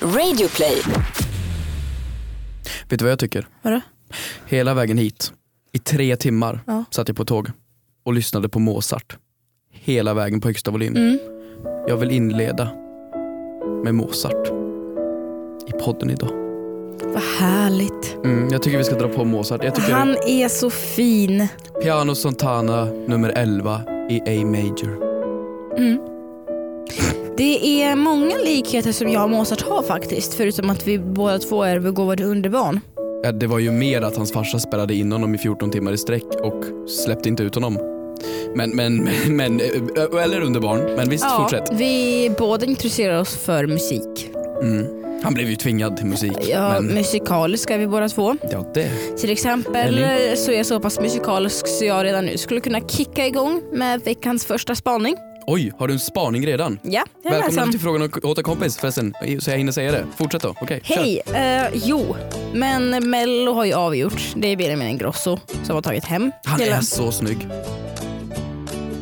Radioplay. Vet du vad jag tycker? Vadå? Hela vägen hit, i tre timmar, Ja. satt jag på tåg och lyssnade på Mozart. Hela vägen på högsta volym. Mm. Jag vill inleda med Mozart i podden idag. Vad härligt. Mm, jag tycker vi ska dra på Mozart. Jag tycker Han är så fin. Piano Santana nummer 11 i A major. Mm. Det är många likheter som jag och Mozart har faktiskt, förutom att vi båda två är begåvade underbarn. Ja, det var ju mer att hans farsa spärrade in honom i 14 timmar i sträck och släppte inte ut honom. Men, men, men, men ö- eller underbarn. Men visst, fortsätt. vi båda intresserar oss för musik. Mm. Han blev ju tvingad till musik. Ja, men, Musikaliska är vi båda två. ja, det. Till exempel Ellie? eh, så är jag så pass musikalisk så jag redan nu skulle kunna kicka igång med veckans första spaning. Oj, har du en spaning redan? Ja, jag är Välkommen läsam. till frågan och- åt en kompis förresten, så jag hinner säga det. Fortsätt då, okej. kör. Hej! Eh, jo, men Mello har ju avgjorts. Det är Benjamin Ingrosso som har tagit hem Han hela- är så snygg.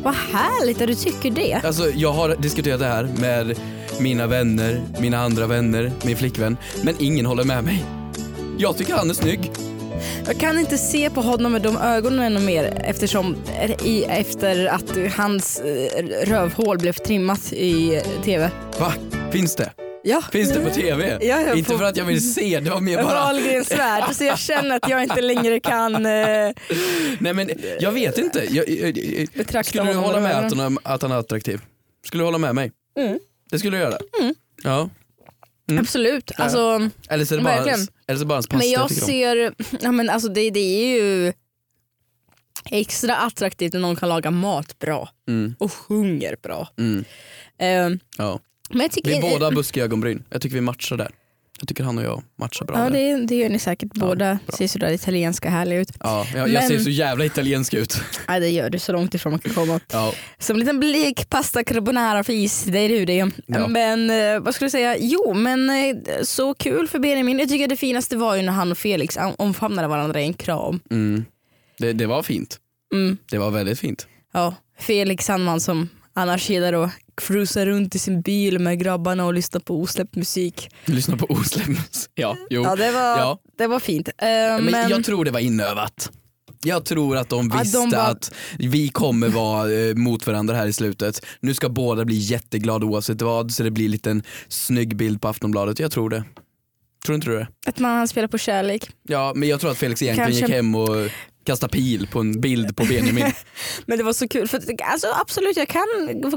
Vad härligt att du tycker det. Alltså, jag har diskuterat det här med mina vänner, mina andra vänner, min flickvän, men ingen håller med mig. Jag tycker han är snygg. Jag kan inte se på honom med de ögonen ännu mer eftersom eh, i, efter att hans eh, rövhål blev trimmat i eh, tv. Va? Finns det? Ja. Finns det på TV? Mm. Ja, ja, Inte på- för att jag vill se, det var mer bara... Wahlgrens värld, så jag känner att jag inte längre kan... Eh, Nej men jag vet inte. Jag, jag, jag, Betrakta skulle du honom hålla med med att ögonen. han, är- att han är attraktiv? Skulle du hålla med mig? Mm. Det skulle du göra? Ja. Mm. Absolut. Alltså, Eller så är det bara Verkligen. hans, eller så är det bara hans pasta men jag tycker om. ser... Ja, men alltså det, det är ju extra attraktivt när någon kan laga mat bra Mm, och sjunger bra. mm, Eh, ja. men jag tycker, Vi är båda buskiga ögonbryn. Jag tycker vi matchar där. Jag tycker han och jag matchar bra Ja, där. det, det gör ni säkert. Båda ser sådär italienska härliga ut. Ja, jag, jag Men- ser så jävla italiensk ut. Nej det gör du så långt ifrån man kan komma. Ja. Som en liten blek pasta carbonara för is, det är du det. Ja. Men eh, vad skulle jag säga? Jo men eh, så kul för Benjamin. Jag tycker det finaste var ju när han och Felix am- omfamnade varandra i en kram. Mm. Det, det var fint. Mm. Det var väldigt fint. Ja, Felix han man som annars gillar att cruisa runt i sin bil med grabbarna och lyssna på osläppt musik. Lyssna på oslämmes. Ja, jo. Ja det var, Ja. Det var fint. Eh, men, men, jag tror det var inövat. Jag tror att de Ja, de visste var- att vi kommer vara eh, mot varandra här i slutet. Nu ska båda bli jätteglada oavsett vad så det blir en liten snygg bild på Aftonbladet. Jag tror det. Tror inte du det? att man han spelar på kärlek. Ja, men jag tror att Felix egentligen Kanske- gick hem och kastade pil på en bild på Benjamin. Men det var så kul. För, att- alltså, absolut, jag kan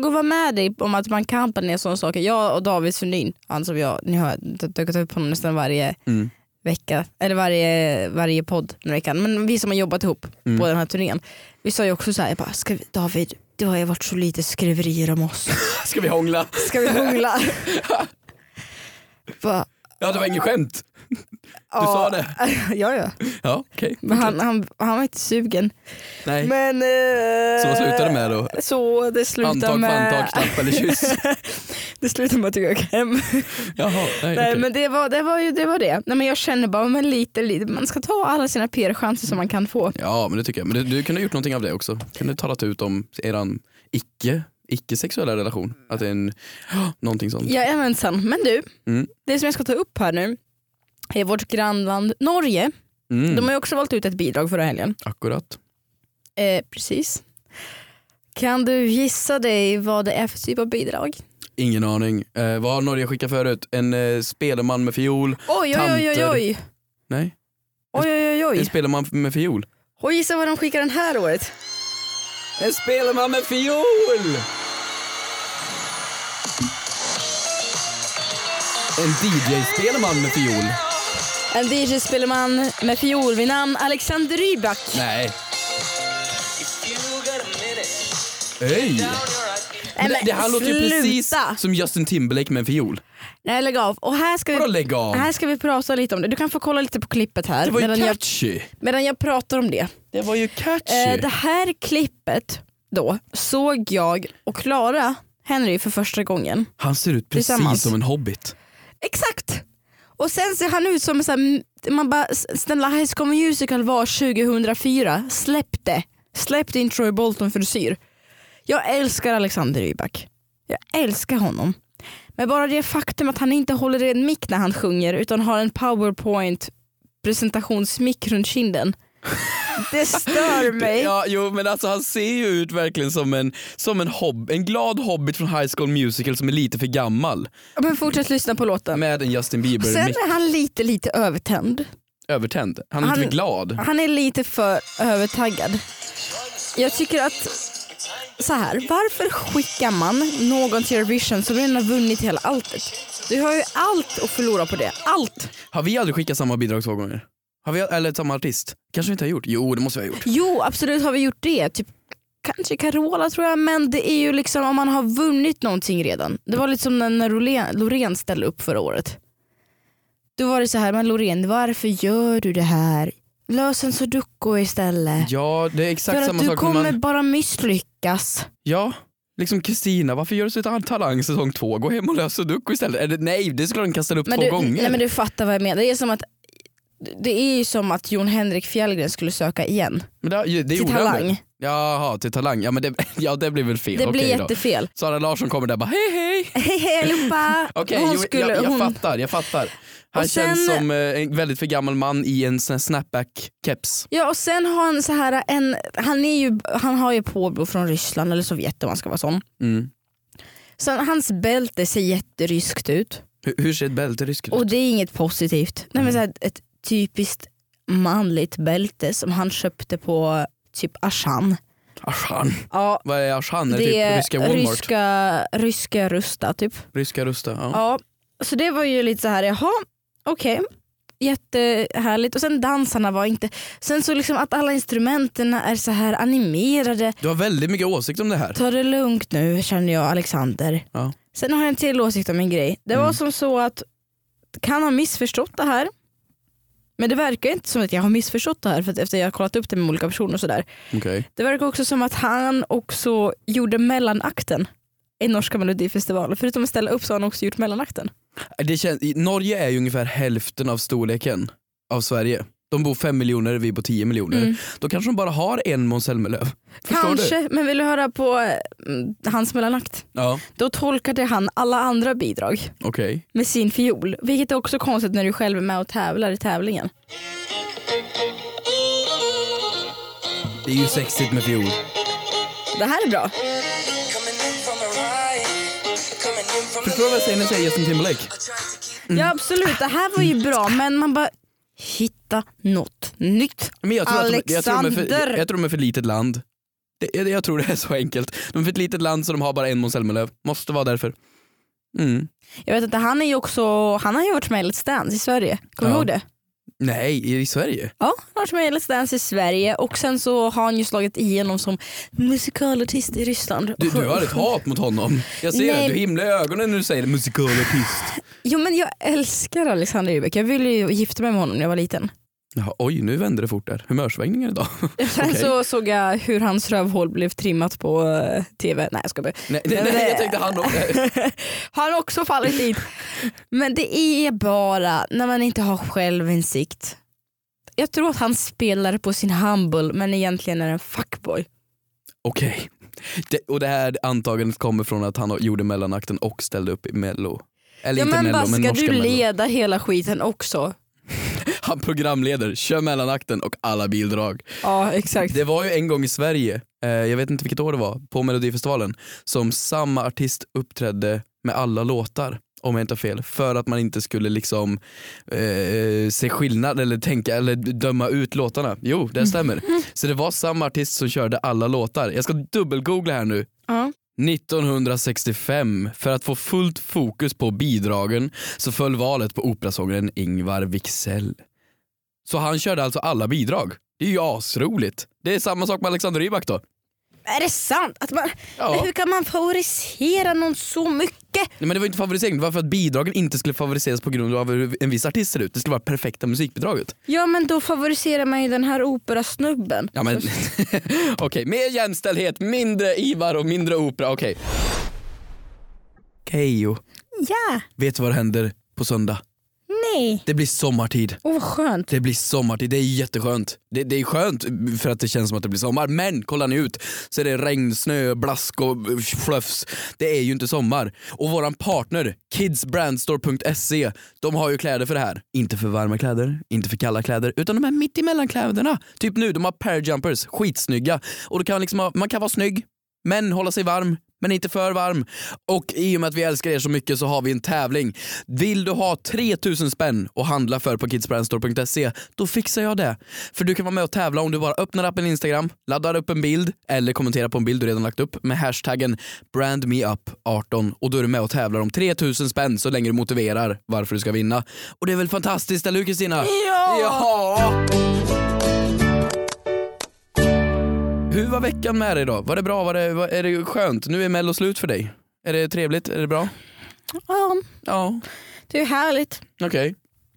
gå vara med dig om att man kan planera sådana saker. Jag och David Sundin, han som jag, ni har dukat upp honom nästan varje Mm. vecka, eller varje, varje podd den här veckan. Men vi som har jobbat ihop Mm. på den här turnén. Vi sa ju också såhär, jag bara, ska vi, David, det har ju varit så lite skriverier om oss. Ska vi hångla? Ska vi hångla? bara, Ja, det var inget skämt. Du sa det. ja, ja. Ja, okej. Men han, han, han var inte sugen. Nej. Men, eh, Så vad slutade det med då? Så det slutade Handtag, med... framtag, klapp eller kyss? Det slutade med att jag gick hem. Jaha, nej, Nej okej. men det var det. Var ju, det, var det. Nej, men jag känner bara men lite, lite, man ska ta alla sina PR-chanser som man kan få. Ja men det tycker jag. Men du, du kunde ha gjort någonting av det också. Kunde ha talat ut om eran icke, icke-sexuella relation. Att det är en, någonting sånt. Jajamensan. Men du, Mm. det som jag ska ta upp här nu är vårt grannland Norge. Mm, De har ju också valt ut ett bidrag förra helgen. Akkurat. Eh, precis. Kan du gissa dig vad det är för typ av bidrag? Ingen aning. Eh, vad har Norge skickat förut? En eh, spelman med fiol? Oj oj oj oj Tanter. oj. Nej, Oj oj oj en oj. spelman med fiol. Och gissa vad de skickar den här året. En spelman med fiol! En DJ-spelman med fiol? En DJ-spelman med fiol vid namn Alexander Rybak. Nej. Öj! Men det, det här låter ju precis som Justin Timberlake med en fiol. Nej lägg av. Och här ska, Vadå vi, lägg av? här ska vi prata lite om det. Du kan få kolla lite på klippet Det här var ju medan jag, catchy. medan jag pratar om det. Det var ju catchy. Eh, det här klippet då såg jag och Klara Henry för första gången. Han ser ut precis tillsammans. som en hobbit. Exakt! Och sen ser han ut som en sån här, man bara s- snälla High School Musical var 2004, släpp det. Släpp din Troy Bolton frisyr. Jag älskar Alexander Rybak. Jag älskar honom. Men bara det faktum att han inte håller i en mick när han sjunger utan har en powerpoint presentationsmick runt kinden. Det stör mig. Ja, jo, men alltså han ser ju ut verkligen som en, som en, hob- en glad hobbit från High School Musical som är lite för gammal. Men fortsätt lyssna på låten. Med en Justin Sen Bieber-mick. är han lite lite övertänd. Övertänd. Han är lite Han- för glad. Han är lite för övertaggad. Jag tycker att så här, varför skickar man någon till Eurovision som redan har vunnit hela alltet? Du har ju allt att förlora på det. Allt! Har vi aldrig skickat samma bidrag två gånger? Har vi, eller samma artist? Kanske vi inte har gjort? Jo, det måste vi ha gjort. Jo, absolut har vi gjort det. Typ, kanske Carola tror jag, men det är ju liksom om man har vunnit någonting redan. Det var lite som när- när Loreen- Loreen ställde upp förra året. Då var det så här, men Loreen varför gör du det här? Lös en sudoku istället. Ja, det är exakt För samma att du sak. som kommer Man, bara misslyckas. ja, liksom Kristina, varför gör du så utan talang säsong två? Gå hem och lös sudoku istället. Eller, nej, det skulle hon kasta upp Men två du, gånger. Nej men du fattar vad jag menar. Det är som att det är ju som att Jon Henrik Fjällgren skulle söka igen. Men det, det till gjorde han väl? Talang. Jaha, till talang. Ja, men det, ja, det blir väl fel. Det blir Okej då. jättefel. Sara Larsson kommer där och bara hej hej. Hej hej allihopa! Okej, hon jo, skulle, jag, jag hon, fattar, jag fattar. Han Och sen- känns som eh, en väldigt för gammal man i en sån här snapback-keps. Ja och sen har han så här en, han, är ju, han har ju påbrå från Ryssland eller Sovjet om man ska vara sån. Mm. Sen, hans bälte ser jätteryskt ut Hur, hur ser ett bälte ryskt ut? och det är inget positivt. Nej, Mm. men så här, ett typiskt manligt bälte som han köpte på typ Ashan. Ashan. Ja, Vad är Ashan? Är det, det är typ ryska Walmart? ryska, ryska Rusta typ. Ryska Rusta? Ja. Ja, så det var ju lite så här, jaha, okej. Jättehärligt. Och sen dansarna var inte... Sen så liksom att alla instrumenten är så här animerade. Du har väldigt mycket åsikt om det här. Ta det lugnt nu känner jag Alexander. Ja. Mm. Sen har jag en till åsikt om en grej. Det var som så att, kan ha missförstått det här. Men det verkar inte som att jag har missförstått det här för att efter jag har kollat upp det med olika personer och sådär. Okej. Det verkar också som att han också gjorde mellanakten i norska melodifestivalen. Förutom att ställa upp så har han också gjort mellanakten. Det känns, i- Norge är ju ungefär hälften av storleken av Sverige. De bor fem miljoner, vi bor tio miljoner. Mm. Då kanske de bara har en Måns Zelmerlöw. Förstår du? Kanske, men vill du höra på eh, mm, hans mellanakt? Ja, Då tolkade han alla andra bidrag okej. med sin fiol, vilket är också konstigt när du själv är med och tävlar i tävlingen. Det är ju sexigt med fiol. Det här är bra. Förstår du vad jag säger när jag säger Justin Timberlake? Mm. Ja absolut, det här var ju bra men man bara hitta något nytt. Men jag, tror att de, jag, tror de är Alexander! för, jag tror de är för litet land. Det, jag, jag tror det är så enkelt. De är för ett litet land så de har bara en Måns Zelmerlöw. Måste vara därför. Mm. Jag vet inte, han är ju också, han har ju varit med i Let's Dance i Sverige. Kommer Ja. du ihåg det? Nej, i Sverige? Ja, han har varit med i Let's Dance i Sverige och sen så har han ju slagit igenom som musikalartist i Ryssland. Du, du har ett hat mot honom. Jag ser Nej. det, du himlar i ögonen när du säger det. musikalartist. Jo men jag älskar Alexander Rybak. Jag ville ju gifta mig med honom när jag var liten. Jaha, oj, nu vände det fort där. Humörsvängningar idag. Sen Okej. så såg jag hur hans rövhål blev trimmat på eh, tv. Nej jag ska nej, nej, Men, nej, eh, jag tänkte han också. Har han också fallit dit. Men det är bara när man inte har självinsikt. Jag tror att han spelar på sin humble men egentligen är en fuckboy. Okej. Det, och det här antagandet kommer från att han gjorde mellanakten och ställde upp i mello. Eller Ja, inte men mello, bara, men ska norska du mello. leda hela skiten också? Han programleder, kör mellanakten och alla bildrag. Ja exakt. Det var ju en gång i Sverige, eh, jag vet inte vilket år det var, på melodifestivalen som samma artist uppträdde med alla låtar om jag inte har fel, för att man inte skulle liksom eh, se skillnad eller tänka eller döma ut låtarna. Jo, det stämmer. Så det var samma artist som körde alla låtar. Jag ska dubbelgoogla här nu. Ja. 1965, för att få fullt fokus på bidragen så föll valet på operasångaren Ingvar Wicksell. Så han körde alltså alla bidrag. Det är ju asroligt. Det är samma sak med Alexander Rybak då. Är det sant? Att man, Ja. Hur kan man favorisera någon så mycket? Nej, men det var inte favorisering, det var för att bidragen inte skulle favoriseras på grund av hur en viss artist ser ut. Det skulle vara perfekta musikbidraget. Ja men då favoriserar man ju den här operasnubben. Ja men okej, mer jämställdhet, mindre Ivar och mindre opera. Okej. Keyyo, Ja. vet du vad som händer på söndag? Nej. Det blir sommartid. Åh vad skönt. Det blir sommartid, det är jätteskönt. Det, det är skönt för att det känns som att det blir sommar. Men kollar ni ut så är det regn, snö, blask och fluffs. Det är ju inte sommar. Och våran partner, kidsbrandstore.se, de har ju kläder för det här. Inte för varma kläder, inte för kalla kläder, utan de här mittemellan kläderna. Typ nu, de har pairjumpers, skitsnygga. Och då kan man, liksom ha, man kan vara snygg, men hålla sig varm. Men inte för varm. Och i och med att vi älskar er så mycket så har vi en tävling. Vill du ha 3000 spänn och handla för på kidsbrandstore.se, då fixar jag det. För du kan vara med och tävla om du bara öppnar appen Instagram, laddar upp en bild eller kommenterar på en bild du redan lagt upp med hashtaggen brandmeup18 och då är du med och tävlar om 3000 spänn så länge du motiverar varför du ska vinna. Och det är väl fantastiskt, eller hur Kristina? Ja. Ja! Hur var veckan med dig då? Var det bra? Var det, var, är det skönt? Nu är mello slut för dig. Är det trevligt? Är det bra? Ja, Ja, det är härligt. okej.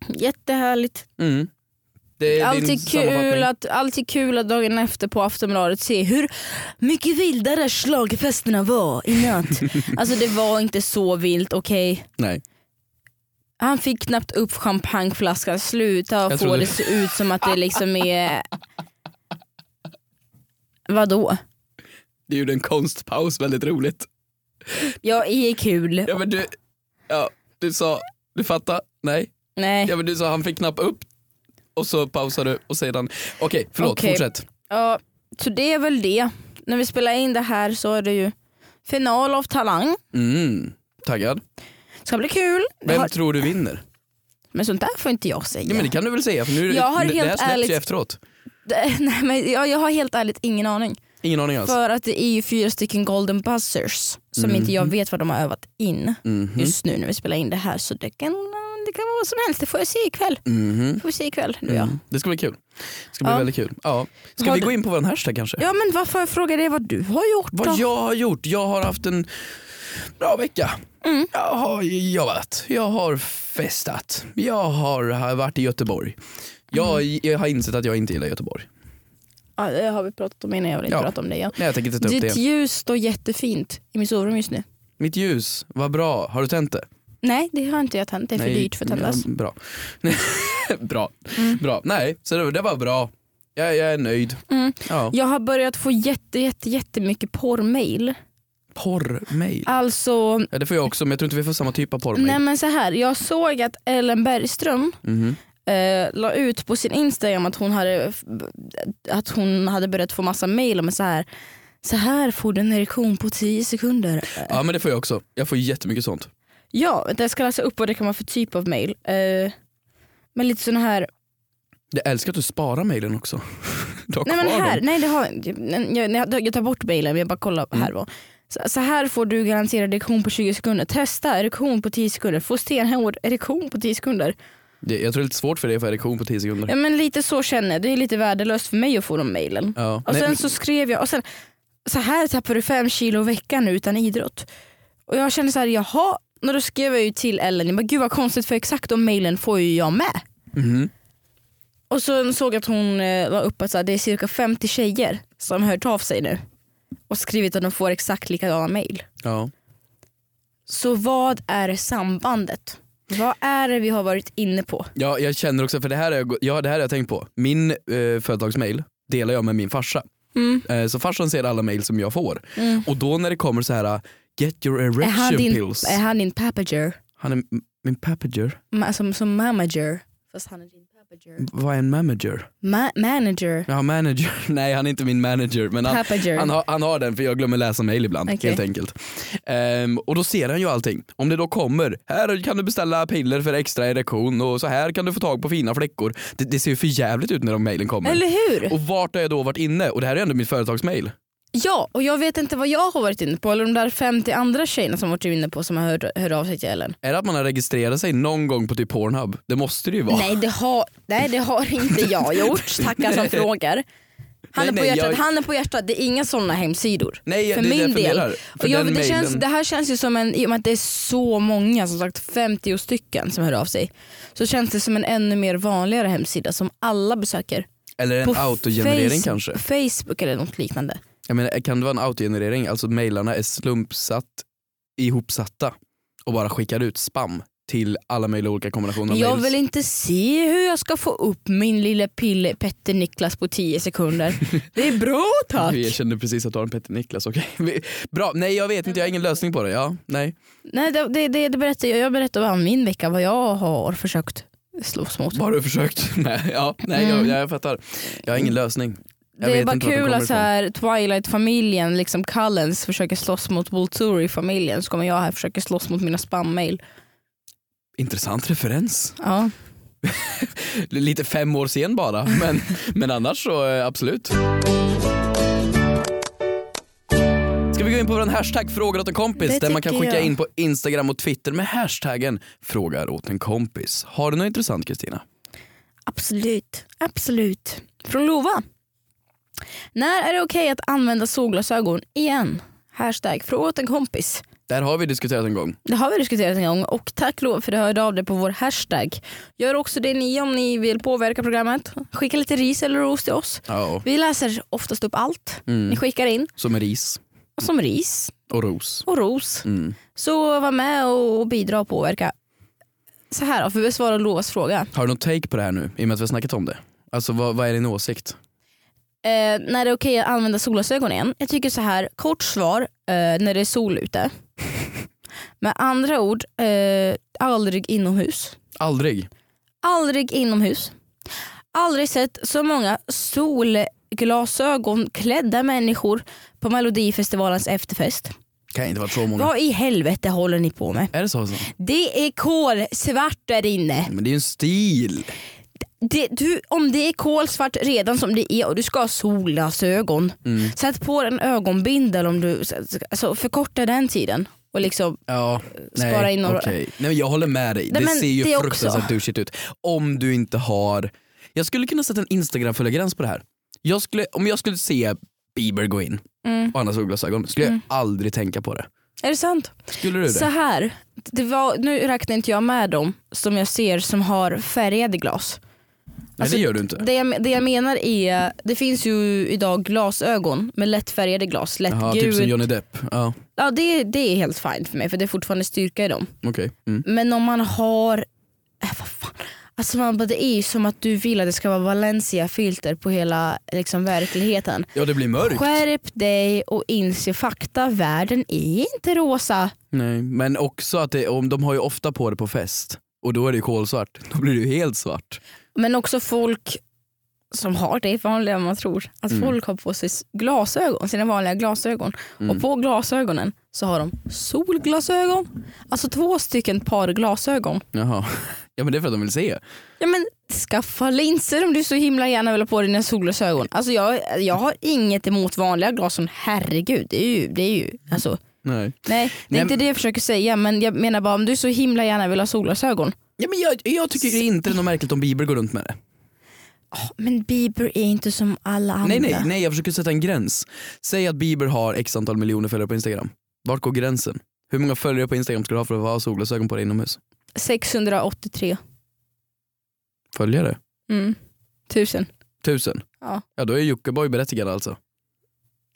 Jättehärligt. Mm. Det är din Alltid kul, sammanfattning. att, alltid kul att dagen efter på Aftonbladet se hur mycket vildare schlagerfesterna var i natt. alltså det var inte så vilt, okej. Nej. Han fick knappt upp champagneflaskan, sluta Jag få trodde- det se ut som att det liksom är... Vadå? Det gjorde en konstpaus väldigt roligt. Jag är kul. Ja men du, ja, du sa, du fattar? Nej? Nej. Ja men du sa han fick knappa upp och så pausade du och sedan, okej förlåt Okej. fortsätt. Ja, så det är väl det. När vi spelar in det här så är det ju final av Talang. Mm, taggad. Ska bli kul. Jag Vem har- tror du vinner? Men sånt där får inte jag säga. Ja men det kan du väl säga för nu är det- Jag har det här helt släpps ärligt- ju efteråt. Det- Nej, men jag, jag har helt ärligt ingen aning. Ingen aning alls. För att det är ju fyra stycken golden buzzers som Mm. inte jag vet vad de har övat in Mhm, just nu när vi spelar in det här. Så det kan, det kan vara vad som helst, det får jag se ikväll. mhm, Får vi se ikväll nu ja. mm. Det ska bli kul. Det ska bli Ja. väldigt kul. Ja. Ska Vad- vi gå in på vår hashtag kanske? Ja men varför jag frågar dig vad du har gjort då? Vad jag har gjort? Jag har haft en bra vecka. Mm. Jag har jobbat, jag har festat, jag har, har varit i Göteborg. Mm. Jag, jag har insett att jag inte gillar Göteborg. Ja, det har vi pratat om innan, jag vill inte Ja. prata om det igen. Nej jag tänker inte ta upp Ditt det. ljus står jättefint i mitt sovrum just nu. Mitt ljus, vad bra. Har du tänt det? Nej det har inte jag tänt, det är för Nej, dyrt för att tändas. Ja, bra. bra. bra. Nej, så det, det var bra. Jag, jag är nöjd. Mm. Ja. Jag har börjat få jätte, jätte, jättemycket porrmail. Porrmail. Alltså, Ja, det får jag också men jag tror inte vi får samma typ av porrmail. nej men så här. jag såg att Ellen Bergström Mhm. eh, la ut på sin Instagram att hon hade, att hon hade börjat få massa mail med så här. Så här får du en erektion på 10 sekunder. Eh, Ja men det får jag också. Jag får jättemycket sånt. Ja, vänta, jag ska läsa upp vad det kan vara för typ av mail. Eh, men lite såna här... Jag älskar att du sparar mailen också. Du har Nej kvar men dem. här, nej det har jag, jag, jag, jag tar bort mailen men jag bara kollar här då. Så, så här får du garanterad erektion på 20 sekunder. Testa erektion på 10 sekunder. Få stenhård erektion på 10 sekunder. Det, jag tror det är lite svårt för dig att få erektion på 10 sekunder. Ja, men lite så känner jag. Det är lite värdelöst för mig att få de mailen. Ja. Och Nej, sen så skrev jag, och sen, så här tappar du fem kilo i veckan utan idrott. Och jag kände så här, jaha. Och då skrev jag ju till Ellen, jag bara, gud vad konstigt för exakt de mailen får ju jag med. mhm. Och så såg jag att hon eh, la upp att så här, det är cirka 50 tjejer som hört av sig nu och skrivit att de får exakt likadana mejl. ja. Så vad är sambandet? Vad är det vi har varit inne på? Ja, jag känner också, för det här har jag, gå- ja, det här har jag tänkt på. Min eh, företagsmail delar jag med min farsa. Mm. Eh, så farsan ser alla mail som jag får. Mm. Och då när det kommer så här uh, get your Är erection han din, pills. är han din papager? Han är m- min papager. Ma, som, som manager? Fast han är din papager. Vad är en manager? Ma, manager? Ja, manager. Nej, han är inte min manager. Men han, Papager? Han har, han har den för jag glömmer läsa mail ibland Okej. helt enkelt. Ehm, och då ser han ju allting. Om det då kommer, här kan du beställa piller för extra erektion och så här kan du få tag på fina fläckor. Det, det ser ju för jävligt ut när de mailen kommer. Eller hur? Och vart har jag då varit inne? Och det här är ändå mitt företagsmail. Ja, och jag vet inte vad jag har varit inne på eller de där 50 andra tjejerna som varit inne på som har hört, hört av sig till Ellen. Är det att man har registrerat sig någon gång på typ Pornhub? Det måste det ju vara. Nej det, har, nej det har inte jag gjort, tackar som frågar. Han är, Nej, på nej, hjärtat, jag- han är på hjärtat, det är inga sådana hemsidor. Nej, för det är min därför jag del. menar. För Och jag, den det, känns, mailen- det här känns ju som en, i och med att det är så många, som sagt 50 stycken som hör av sig. Så känns det som en ännu mer vanligare hemsida som alla besöker. Eller en på autogenerering face- kanske. Facebook eller något liknande. Jag menar, kan det vara en autogenerering? Alltså mailarna är slumpsatt, ihopsatta och bara skickar ut spam till alla möjliga olika kombinationer av Jag mails. vill inte se hur jag ska få upp min lilla pille Petter Niklas på 10 sekunder. Det är bra tack! Jag kände precis att du har en Petter Niklas, okej. Vi- Bra, nej jag vet inte, jag har ingen lösning på det. Ja, nej. Nej, det, det, det, det berättar jag. jag berättar om min vecka, vad jag har försökt slåss mot. Bara du försökt. Nej, ja, nej jag, Mm. jag, fattar. Jag har ingen lösning. Jag det vet var inte vart de kul kommer att så här, Twilight-familjen, liksom Cullens, försöker slåss mot Volturi-familjen. Så kommer jag här försöka slåss mot mina spammail. Intressant referens. Ja. Lite fem år sen bara, men, men annars så eh, absolut. Ska vi gå in på vår hashtag frågar åt en kompis Det där man kan tycker skicka jag. in på Instagram och Twitter med hashtaggen frågar åt en kompis. Har du något intressant Kristina? Absolut. Absolut. Från Lova. När är det okej att använda solglasögon igen? Hashtag fråga åt en kompis. Där har vi diskuterat en gång. Det har vi diskuterat en gång och tack Lova för att du hörde av dig på vår hashtag. Gör också det ni om ni vill påverka programmet. Skicka lite ris eller ros till oss. Ja, Vi läser oftast upp allt mm. ni skickar in. Som ris Som ris och ros. och ros. Mm. Så var med och bidra och påverka. Så här då, för att besvara Lovas fråga. Har du något take på det här nu i och med att vi har snackat om det? Alltså vad, vad är din åsikt? Eh, när det är okej att använda solglasögon igen. Jag tycker så här, kort svar, eh, när det är sol ute. Med andra ord, eh, aldrig inomhus. Aldrig. Aldrig inomhus. Aldrig sett så många solglasögonklädda människor på melodifestivalens efterfest. Kan inte varit så många. Vad i helvete håller ni på med? Är det så? så? Det är kolsvart där inne. Men det är ju en stil. Det, du, om det är kolsvart redan som det är och du ska ha solglasögon, Mm. sätt på en ögonbindel om du, alltså förkorta den tiden. Och liksom, Ja, nej, Spara in några- okej. Nej, men jag håller med dig. Nej, det men ser ju det också. fruktansvärt douchigt ut. Om du inte har... Jag skulle kunna sätta en Instagram-följargräns på det här. Jag skulle, om jag skulle se Bieber gå in mm. och andra solglasögon skulle jag aldrig tänka på det. Är det sant? Skulle du det? Så här, det var, nu räknar inte jag med dem som jag ser som har färgade glas. nej alltså, det gör du inte. Det jag, det jag menar är, det finns ju idag glasögon med lättfärgade glas, Jaha, lättgult. typ som Johnny Depp. Ja, ja, det, det är helt fint för mig för det är fortfarande styrka i dem. okej. Mm. Men om man har... Äh, vad fan. Alltså man, bara, det är ju som att du vill att det ska vara Valencia-filter på hela liksom, verkligheten. Ja det blir mörkt. Skärp dig och inse fakta, världen är inte rosa. Nej, men också att det, om de har ju ofta på det på fest och då är det ju kolsvart. Då blir det ju helt svart. Men också folk som har det är vanligare än man tror. Att Mm. folk har på sig s- glasögon, sina vanliga glasögon. Mm. Och på glasögonen så har de solglasögon. Alltså två stycken par glasögon. Jaha. Ja men det är för att de vill se. Ja men skaffa linser om du så himla gärna vill ha på dig dina solglasögon. Alltså jag, jag har inget emot vanliga glasögon, herregud. Det är ju, det är ju alltså, Nej. nej det är Nej, inte det jag försöker säga men jag menar bara om du så himla gärna vill ha solglasögon. Ja, men jag, jag tycker inte det är något märkligt om Bieber går runt med det. Åh, Men Bieber är inte som alla andra. Nej, nej, nej jag försöker sätta en gräns. Säg att Bieber har x antal miljoner följare på Instagram. Vart går gränsen? Hur många följare på Instagram ska du ha för att ha solglasögon på dig inomhus? 683 Följare? mm. tusen. Tusen? Ja. ja då är Jockiboi berättigad alltså.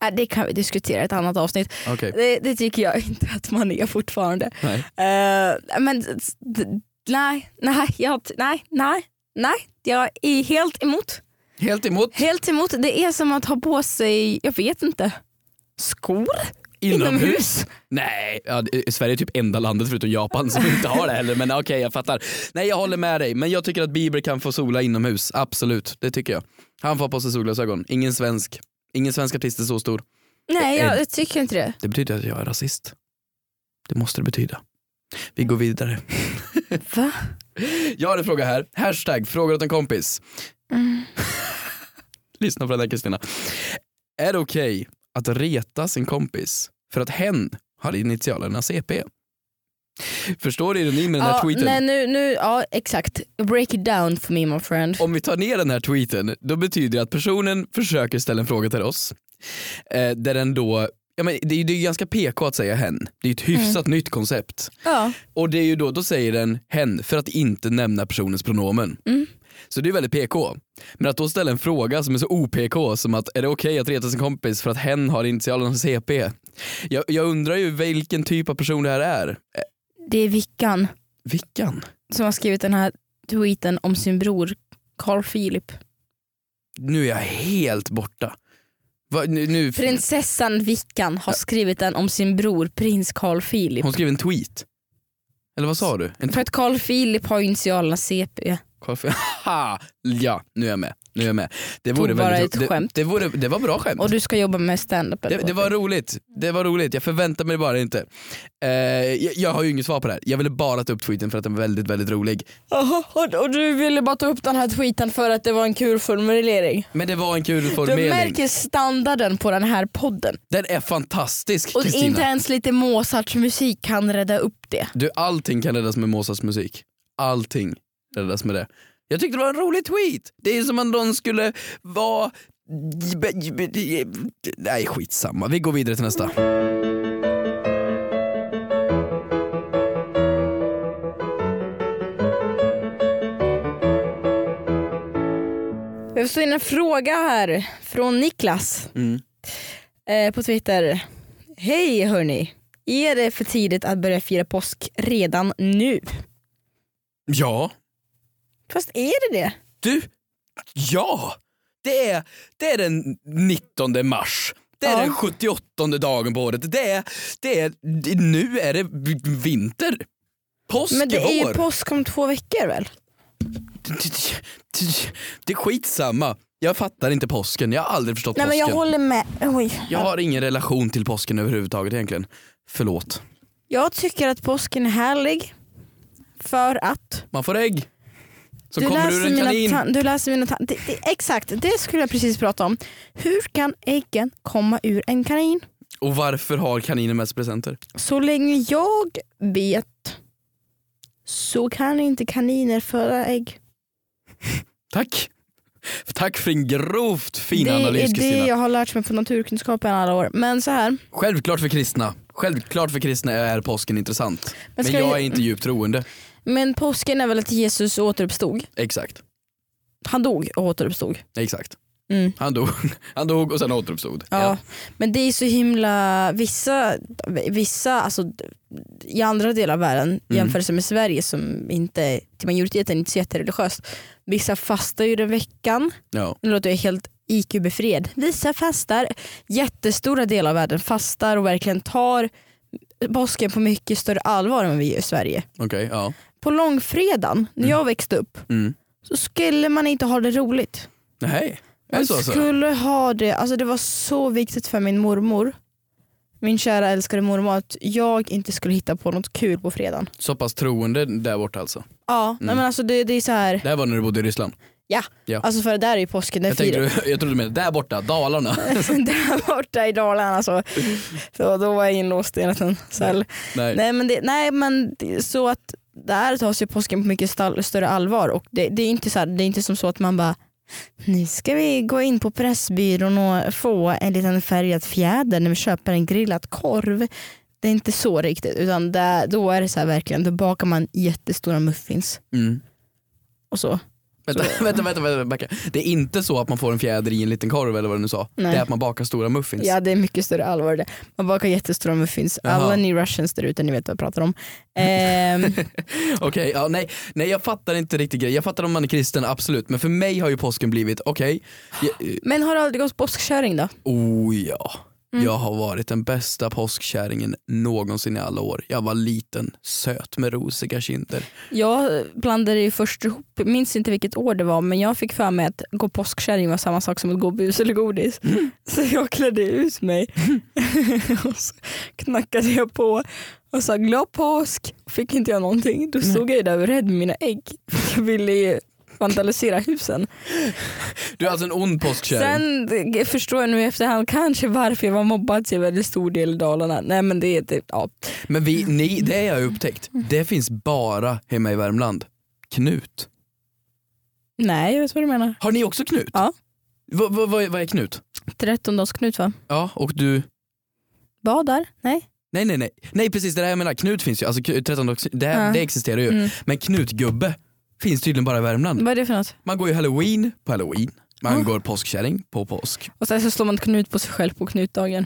Äh, Det kan vi diskutera i ett annat avsnitt. Okej. Det, det tycker jag inte att man är fortfarande. Nej. Eh, men s- d- nej, nej, jag, nej, nej, nej. Jag är helt emot. Helt emot Helt emot. Det är som att ha på sig, jag vet inte, skor inomhus. Nej, ja, det- Sverige är typ enda landet förutom Japan som inte har det heller. Men okej, jag fattar. Nej, jag håller med dig. Men jag tycker att Bieber kan få sola inomhus. Absolut, det tycker jag. Han får ha på sig solglasögon. Ingen svensk. Ingen svensk artist är så stor. Nej, Eh, jag, jag tycker inte det. Det betyder att jag är rasist. Det måste det betyda. Vi går vidare. Va? Jag har en fråga här. Hashtag frågar åt en kompis. Mm. Lyssna på den här Kristina. Är det okej att reta sin kompis för att hen har initialerna CP? Förstår du ironin med den här Ja, tweeten? nej, nu, nu, ja, exakt. Break it down for me my friend. Om vi tar ner den här tweeten, då betyder det att personen försöker ställa en fråga till oss. Eh, där den då, ja, men det, är ju- det är ju ganska PK att säga hen. Det är ju ett Mm. hyfsat nytt koncept. Ja. Och det är ju då, då säger den hen för att inte nämna personens pronomen. Mm. Så det är väldigt PK. Men att då ställa en fråga som är så OPK som att är det okej att reta sin kompis för att hen har initialerna CP? Jag, jag undrar ju vilken typ av person det här är. Det är Vickan. Vickan? som har skrivit den här tweeten om sin bror Carl Philip. Nu är jag helt borta. Va, nu, nu, Prinsessan Vickan har skrivit den om sin bror prins Carl Philip. hon skrev en tweet. Eller vad sa du? En För att Carl Philip har initialerna CP. Kolla- Haha! ja, nu är jag med. Nu är jag med. Det Tog vore bara väldigt ett ro- skämt. Det, det, vore, det var bra skämt. Och du ska jobba med standup Det, eller det vad? var roligt. Det var roligt. Jag förväntar mig det bara inte. Eh, jag, jag har ju inget svar på det här. Jag ville bara ta upp tweeten för att den var väldigt, väldigt rolig. Jaha, och, och du ville bara ta upp den här tweeten för att det var en kul formulering. Men det var en kul Du formulering. märker standarden på den här podden. Den är fantastisk Och inte Kristina. ens lite Mozarts musik kan rädda upp det. Du, allting kan räddas med Mozarts musik. Allting räddas med det. Jag tyckte det var en rolig tweet. Det är som om någon skulle vara... Nej skitsamma, vi går vidare till nästa. Vi har fått in en fråga här från Niklas Mm. eh, på Twitter. Hej hörni, är det för tidigt att börja fira påsk redan nu? Ja, Fast är det det? Du, ja! Det är, det är den 19 mars. Det är Ja. den 78 dagen på året. Det är, det är, det- nu är det v- vinter. Påsk Men det är är ju vår. påsk om två veckor väl? Det- det- Det är skitsamma. Jag fattar inte påsken. Jag har aldrig förstått Nej men påsken. jag håller med. Jag har ingen relation till påsken överhuvudtaget egentligen. Förlåt. Jag tycker att påsken är härlig för att Man får ägg. Så kommer ur en mina kanin. tan- du läser mina tan- det, det, Exakt, det skulle jag precis prata om. Hur kan äggen komma ur en kanin? Och varför har kaninen mest presenter? Så länge jag vet så kan inte kaniner föda ägg. Tack. Tack för din grovt fina det analys är det Kristina. jag har lärt mig på naturkunskapen alla år. Men så här. Självklart för kristna. Självklart för kristna är påsken intressant. Men, Men, ska jag är vi- inte djupt troende. men påsken är väl att Jesus återuppstod? Exakt. Han dog och återuppstod. Exakt. Mm. Han, dog. Han dog och sen återuppstod. Ja. Men det är så himla, vissa, vissa alltså, d- i andra delar av världen i jämförelse med Sverige som inte, till majoriteten inte är så jättereligiöst. Vissa fastar ju den veckan, Ja. nu låter jag helt IQ-befriad. Vissa fastar, jättestora delar av världen fastar och verkligen tar påsken på mycket större allvar än vad vi gör i Sverige. Okej, ja. På långfredagen, när jag växte upp, Mm. så skulle man inte ha det roligt. Nej. Är det Man så, alltså. så? skulle ha det, alltså det var så viktigt för min mormor, min kära älskade mormor, att jag inte skulle hitta på något kul på fredagen. så pass troende där borta alltså? Ja, nej men alltså det, det är så här, Det här var när du bodde i Ryssland? ja. Ja. Alltså för det där är ju påsken, det Jag, tänkte, du- jag trodde du menade där borta, Dalarna. där borta i Dalarna så, så då var jag inlåst i en liten cell. Nej. Nej men, det, nej, men det, så att där tas ju påsken på mycket stall, större allvar och det, det, är inte så här, det är inte som så att man bara nu ska vi gå in på Pressbyrån och få en liten färgad fjäder när vi köper en grillad korv. Det är inte så riktigt utan där, då är det så här verkligen, då bakar man jättestora muffins Mm. och så. Vänta, vänta, vänta, vänta, backa. Det är inte så att man får en fjäder i en liten korv eller vad du nu sa. Nej. Det är att man bakar stora muffins. Ja det är mycket större allvar det. Man bakar jättestora muffins. Jaha. Alla ni russians där ute, ni vet vad jag pratar om. Ehm, Okej, ja, nej, nej jag fattar inte riktigt grejen. Jag fattar om man är kristen, absolut. Men för mig har ju påsken blivit, okej, jag- men har du aldrig gått påskkärring då? Oh ja. Mm. Jag har varit den bästa påskkärringen någonsin i alla år. Jag var liten, söt med rosiga kinder. Jag blandade ju först ihop, minns inte vilket år det var, men jag fick för mig att gå påskkärring var samma sak som att gå bus eller godis. Så jag klädde ut mig och så knackade jag på och sa glad påsk. Fick inte jag någonting, då stod jag ju där och rädd med mina ägg. Jag ville ju vandalisera husen. Du är alltså en ond påskkärring. Sen eh, förstår jag nu i efterhand kanske varför jag var mobbad till väldigt stor del i Dalarna. Nej men det är det, ja. Men vi, ni, det har jag upptäckt. Det finns bara hemma i Värmland. Knut. Nej jag vet vad du menar. Har ni också Knut? Ja. Va- va- Vad är- vad är Knut? 13-dagsknut va? Ja, och du? Badar? Nej? Nej nej nej. Nej precis det där jag menar. Knut finns ju. Alltså, k- 13 dags- det, Ja. det existerar ju. Mm. Men Knutgubbe finns tydligen bara i Värmland. Vad är det för något? Man går ju halloween på halloween. Man Ah. går påskkärring på påsk. Och sen så slår man knut på sig själv på knutdagen.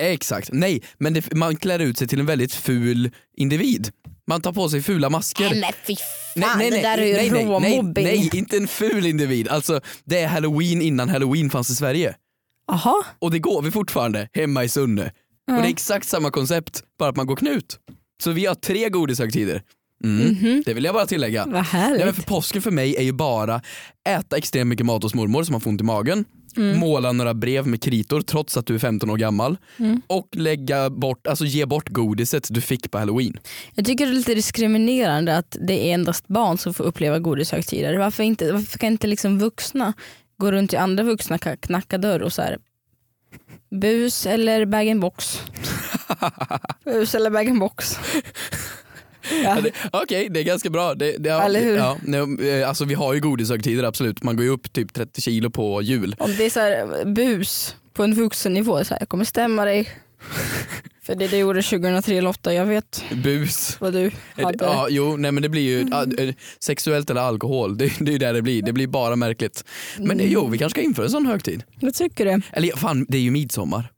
Exakt, nej men det, man klär ut sig till en väldigt ful individ. Man tar på sig fula masker. Nej men fy fan, det där är ju nej, nej, nej, råmobbing. nej, inte en ful individ. Alltså det är halloween innan halloween fanns i Sverige. Jaha, Och det går vi fortfarande hemma i Sunne. Och det är exakt samma koncept, bara att man går knut. Så vi har tre godishögtider. Mm. Mhm. Det vill jag bara tillägga. vad Nej, men härligt. för påsken för mig är ju bara äta extremt mycket mat hos mormor så man får ont i magen, måla några brev med kritor trots att du är 15 år gammal och lägga bort, alltså ge bort godiset du fick på halloween. Jag tycker det är lite diskriminerande att det är endast barn som får uppleva godishögtider. Varför, inte, varför kan inte liksom vuxna gå runt i andra vuxna ka- knacka dörr och så här bus eller bag box Bus eller bag box ja. Det- Okej, det är ganska bra. Det, det, ja, Eller hur? Ja, nej, eh, alltså vi har ju godishögtider absolut, man går ju upp typ 30 kilo på jul. Om det är så här bus på en vuxennivå, så här, jag kommer stämma dig. För det du gjorde 2003 Lotta, jag vet Bus. vad du hade. Ja, jo, nej men det blir ju ja, eh, sexuellt eller alkohol, det, det är ju där det blir. Det blir bara märkligt. Men eh, jo, vi kanske ska införa en sån högtid. Jag Mm. tycker det. Eller fan, det är ju midsommar.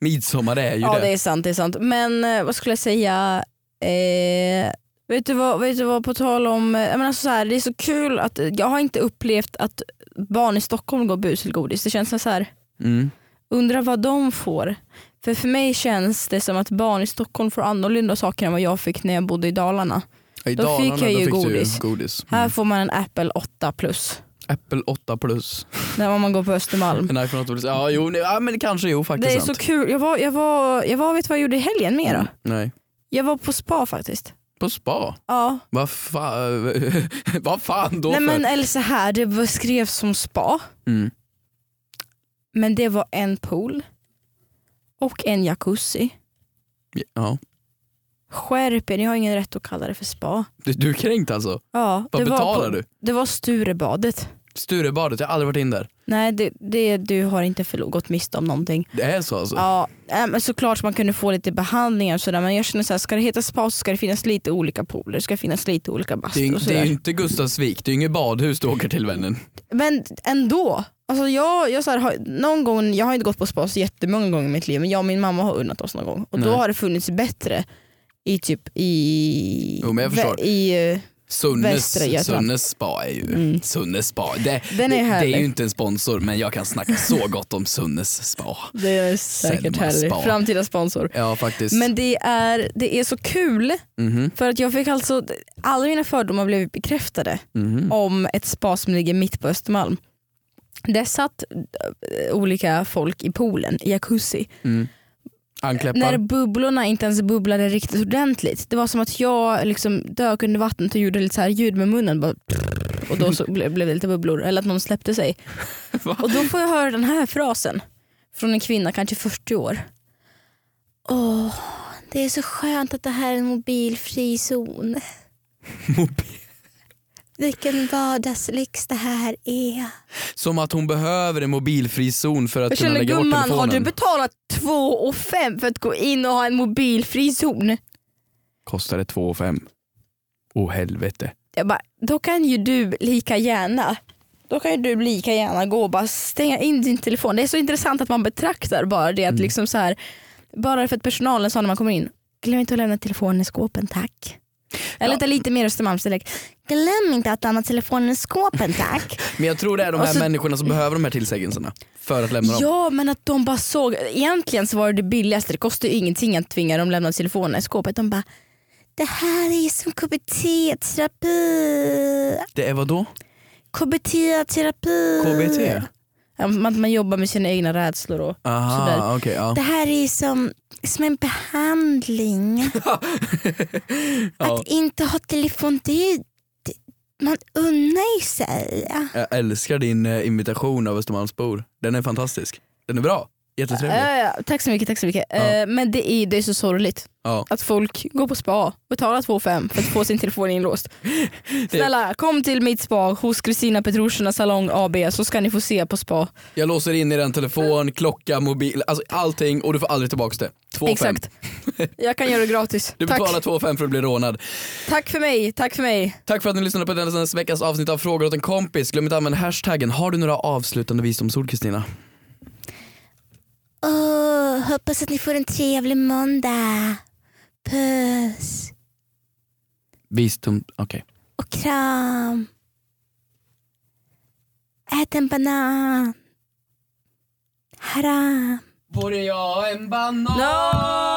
Midsommar är ju Ja det. det är sant, det är sant. Men eh, vad skulle jag säga? Eh, vet, du vad, vet du vad, på tal om, eh, jag menar så här, det är så kul att jag har inte upplevt att barn i Stockholm går bus eller godis. Det känns som så här, Mm. undrar vad de får. För för mig känns det som att barn i Stockholm får annorlunda saker än vad jag fick när jag bodde i Dalarna. I Då Dalarna, fick jag då fick ju du godis. godis. Här Mm. får man en Apple 8 plus Apple 8 plus. när om man går på Östermalm. En iPhone 8 plus. Ja, jo, nej, ja men det kanske jo faktiskt Mm. Det är så sant. kul. Jag var, jag var, jag var vet du vad jag gjorde i helgen med då? Nej. Jag var på spa faktiskt. På spa? Ja. Vad fan, vad fan då Nej för? men eh, eller så här, det var- skrevs som spa Mm. men det var en pool och en jacuzzi. Ja. Skärp er, ni har ingen rätt att kalla det för spa. Du, du är kränkt alltså? Ja, Vad det var betalar på, du? Det var Sturebadet. Sturebadet, jag har aldrig varit in där. Nej det, det, du har inte förlo- gått miste om någonting. Det är så alltså? Ja, äh, men såklart man kunde få lite behandlingar och sådär men jag känner såhär, ska det heta spa så ska det finnas lite olika pooler, det ska finnas lite olika Det är, ju, bastur det är och sådär. ju inte Gustavsvik, det är ju inget badhus du åker till vännen. Men ändå. Alltså jag, jag, så här, har, någon gång, jag har inte gått på spa så jättemånga gånger i mitt liv men jag och min mamma har unnat oss någon gång och då Nej. har det funnits bättre i typ i... Jo, men jag vä- förstår. i eh, Sunnes, Västra Götaland. Sunnes spa är ju, Mm. Sunnes spa, det, Den är det, det härlig. är ju inte en sponsor men jag kan snacka så gott om Sunnes spa. det är säkert Selma härligt. spa. Framtida sponsor. Ja faktiskt. Men det är, det är så kul Mhm, för att jag fick alltså, alla mina fördomar blev bekräftade. mhm. om ett spa som ligger mitt på Östermalm. Där satt eh, olika folk i poolen i jacuzzi. När Ankläppar. bubblorna inte ens bubblade riktigt ordentligt. Det var som att jag liksom dök under vattnet och gjorde lite så här ljud med munnen. Bara, och då så ble, blev det lite bubblor. Eller att någon släppte sig. Va? Och då får jag höra den här frasen. Från en kvinna, kanske 40 år. Åh, det är så skönt att det här är en mobilfri zon. Vilken vardagslyx det här är. Som att hon behöver en mobilfri zon för att Jag kunna känner lägga bort gumman, har du telefonen. betalat 2 fem för att gå in och ha en mobilfri zon? Kostar det 2 5 Åh helvete. Jag bara, då kan ju du lika gärna då kan ju du lika gärna gå och bara stänga in din telefon. Det är så intressant att man betraktar bara det att liksom så här, bara för att personalen sa när man kommer in, glöm inte att lämna telefonen i skåpen tack. Jag Ja. luktar lite mer Östermalmsdialekt. Glöm inte att lämna telefonen i skåpen tack. Men jag tror det är de här Alltså- människorna som behöver de här tillsägelserna för att lämna dem. Ja men att de bara såg, egentligen så var det det billigaste, det kostar ju ingenting att tvinga dem lämna telefonen i skåpet. De bara, det här är ju som KBT-terapi. Det är vad då? KBT-terapi. KBT? Ja, man, man jobbar med sina egna rädslor och Aha, Sådär. okej. ja. det här är ju som, som en behandling. ja. Att inte ha telefon, det är ju, det, man unnar ju sig. Jag älskar din eh, invitation av Östermalmsbor. Den är fantastisk. Den är bra. Jättetrevlig. Ja, ja, tack så mycket. Tack så mycket. Ja. Eh, men det är, det är så sorgligt Ja. att folk går på spa, betalar 2 5 för att få sin telefon inlåst. Snälla kom till mitt spa hos Kristina Petrushina Salong AB så ska ni få se på spa. Jag låser in i den telefon, klocka, mobil, alltså allting och du får aldrig tillbaka det. 2 5 Exakt. Jag kan göra det gratis. Du Tack. betalar 2 5 för att bli rånad. Tack för mig, tack för mig. Tack för att ni lyssnade på denna veckas avsnitt av Frågor åt en kompis. Glöm inte att använda hashtaggen. Har du några avslutande visdomsord Kristina? Åh, hoppas att ni får en trevlig måndag. Puss. Visdom, okej. och kram. Ät en banan. Haram. Vore jag en banan No!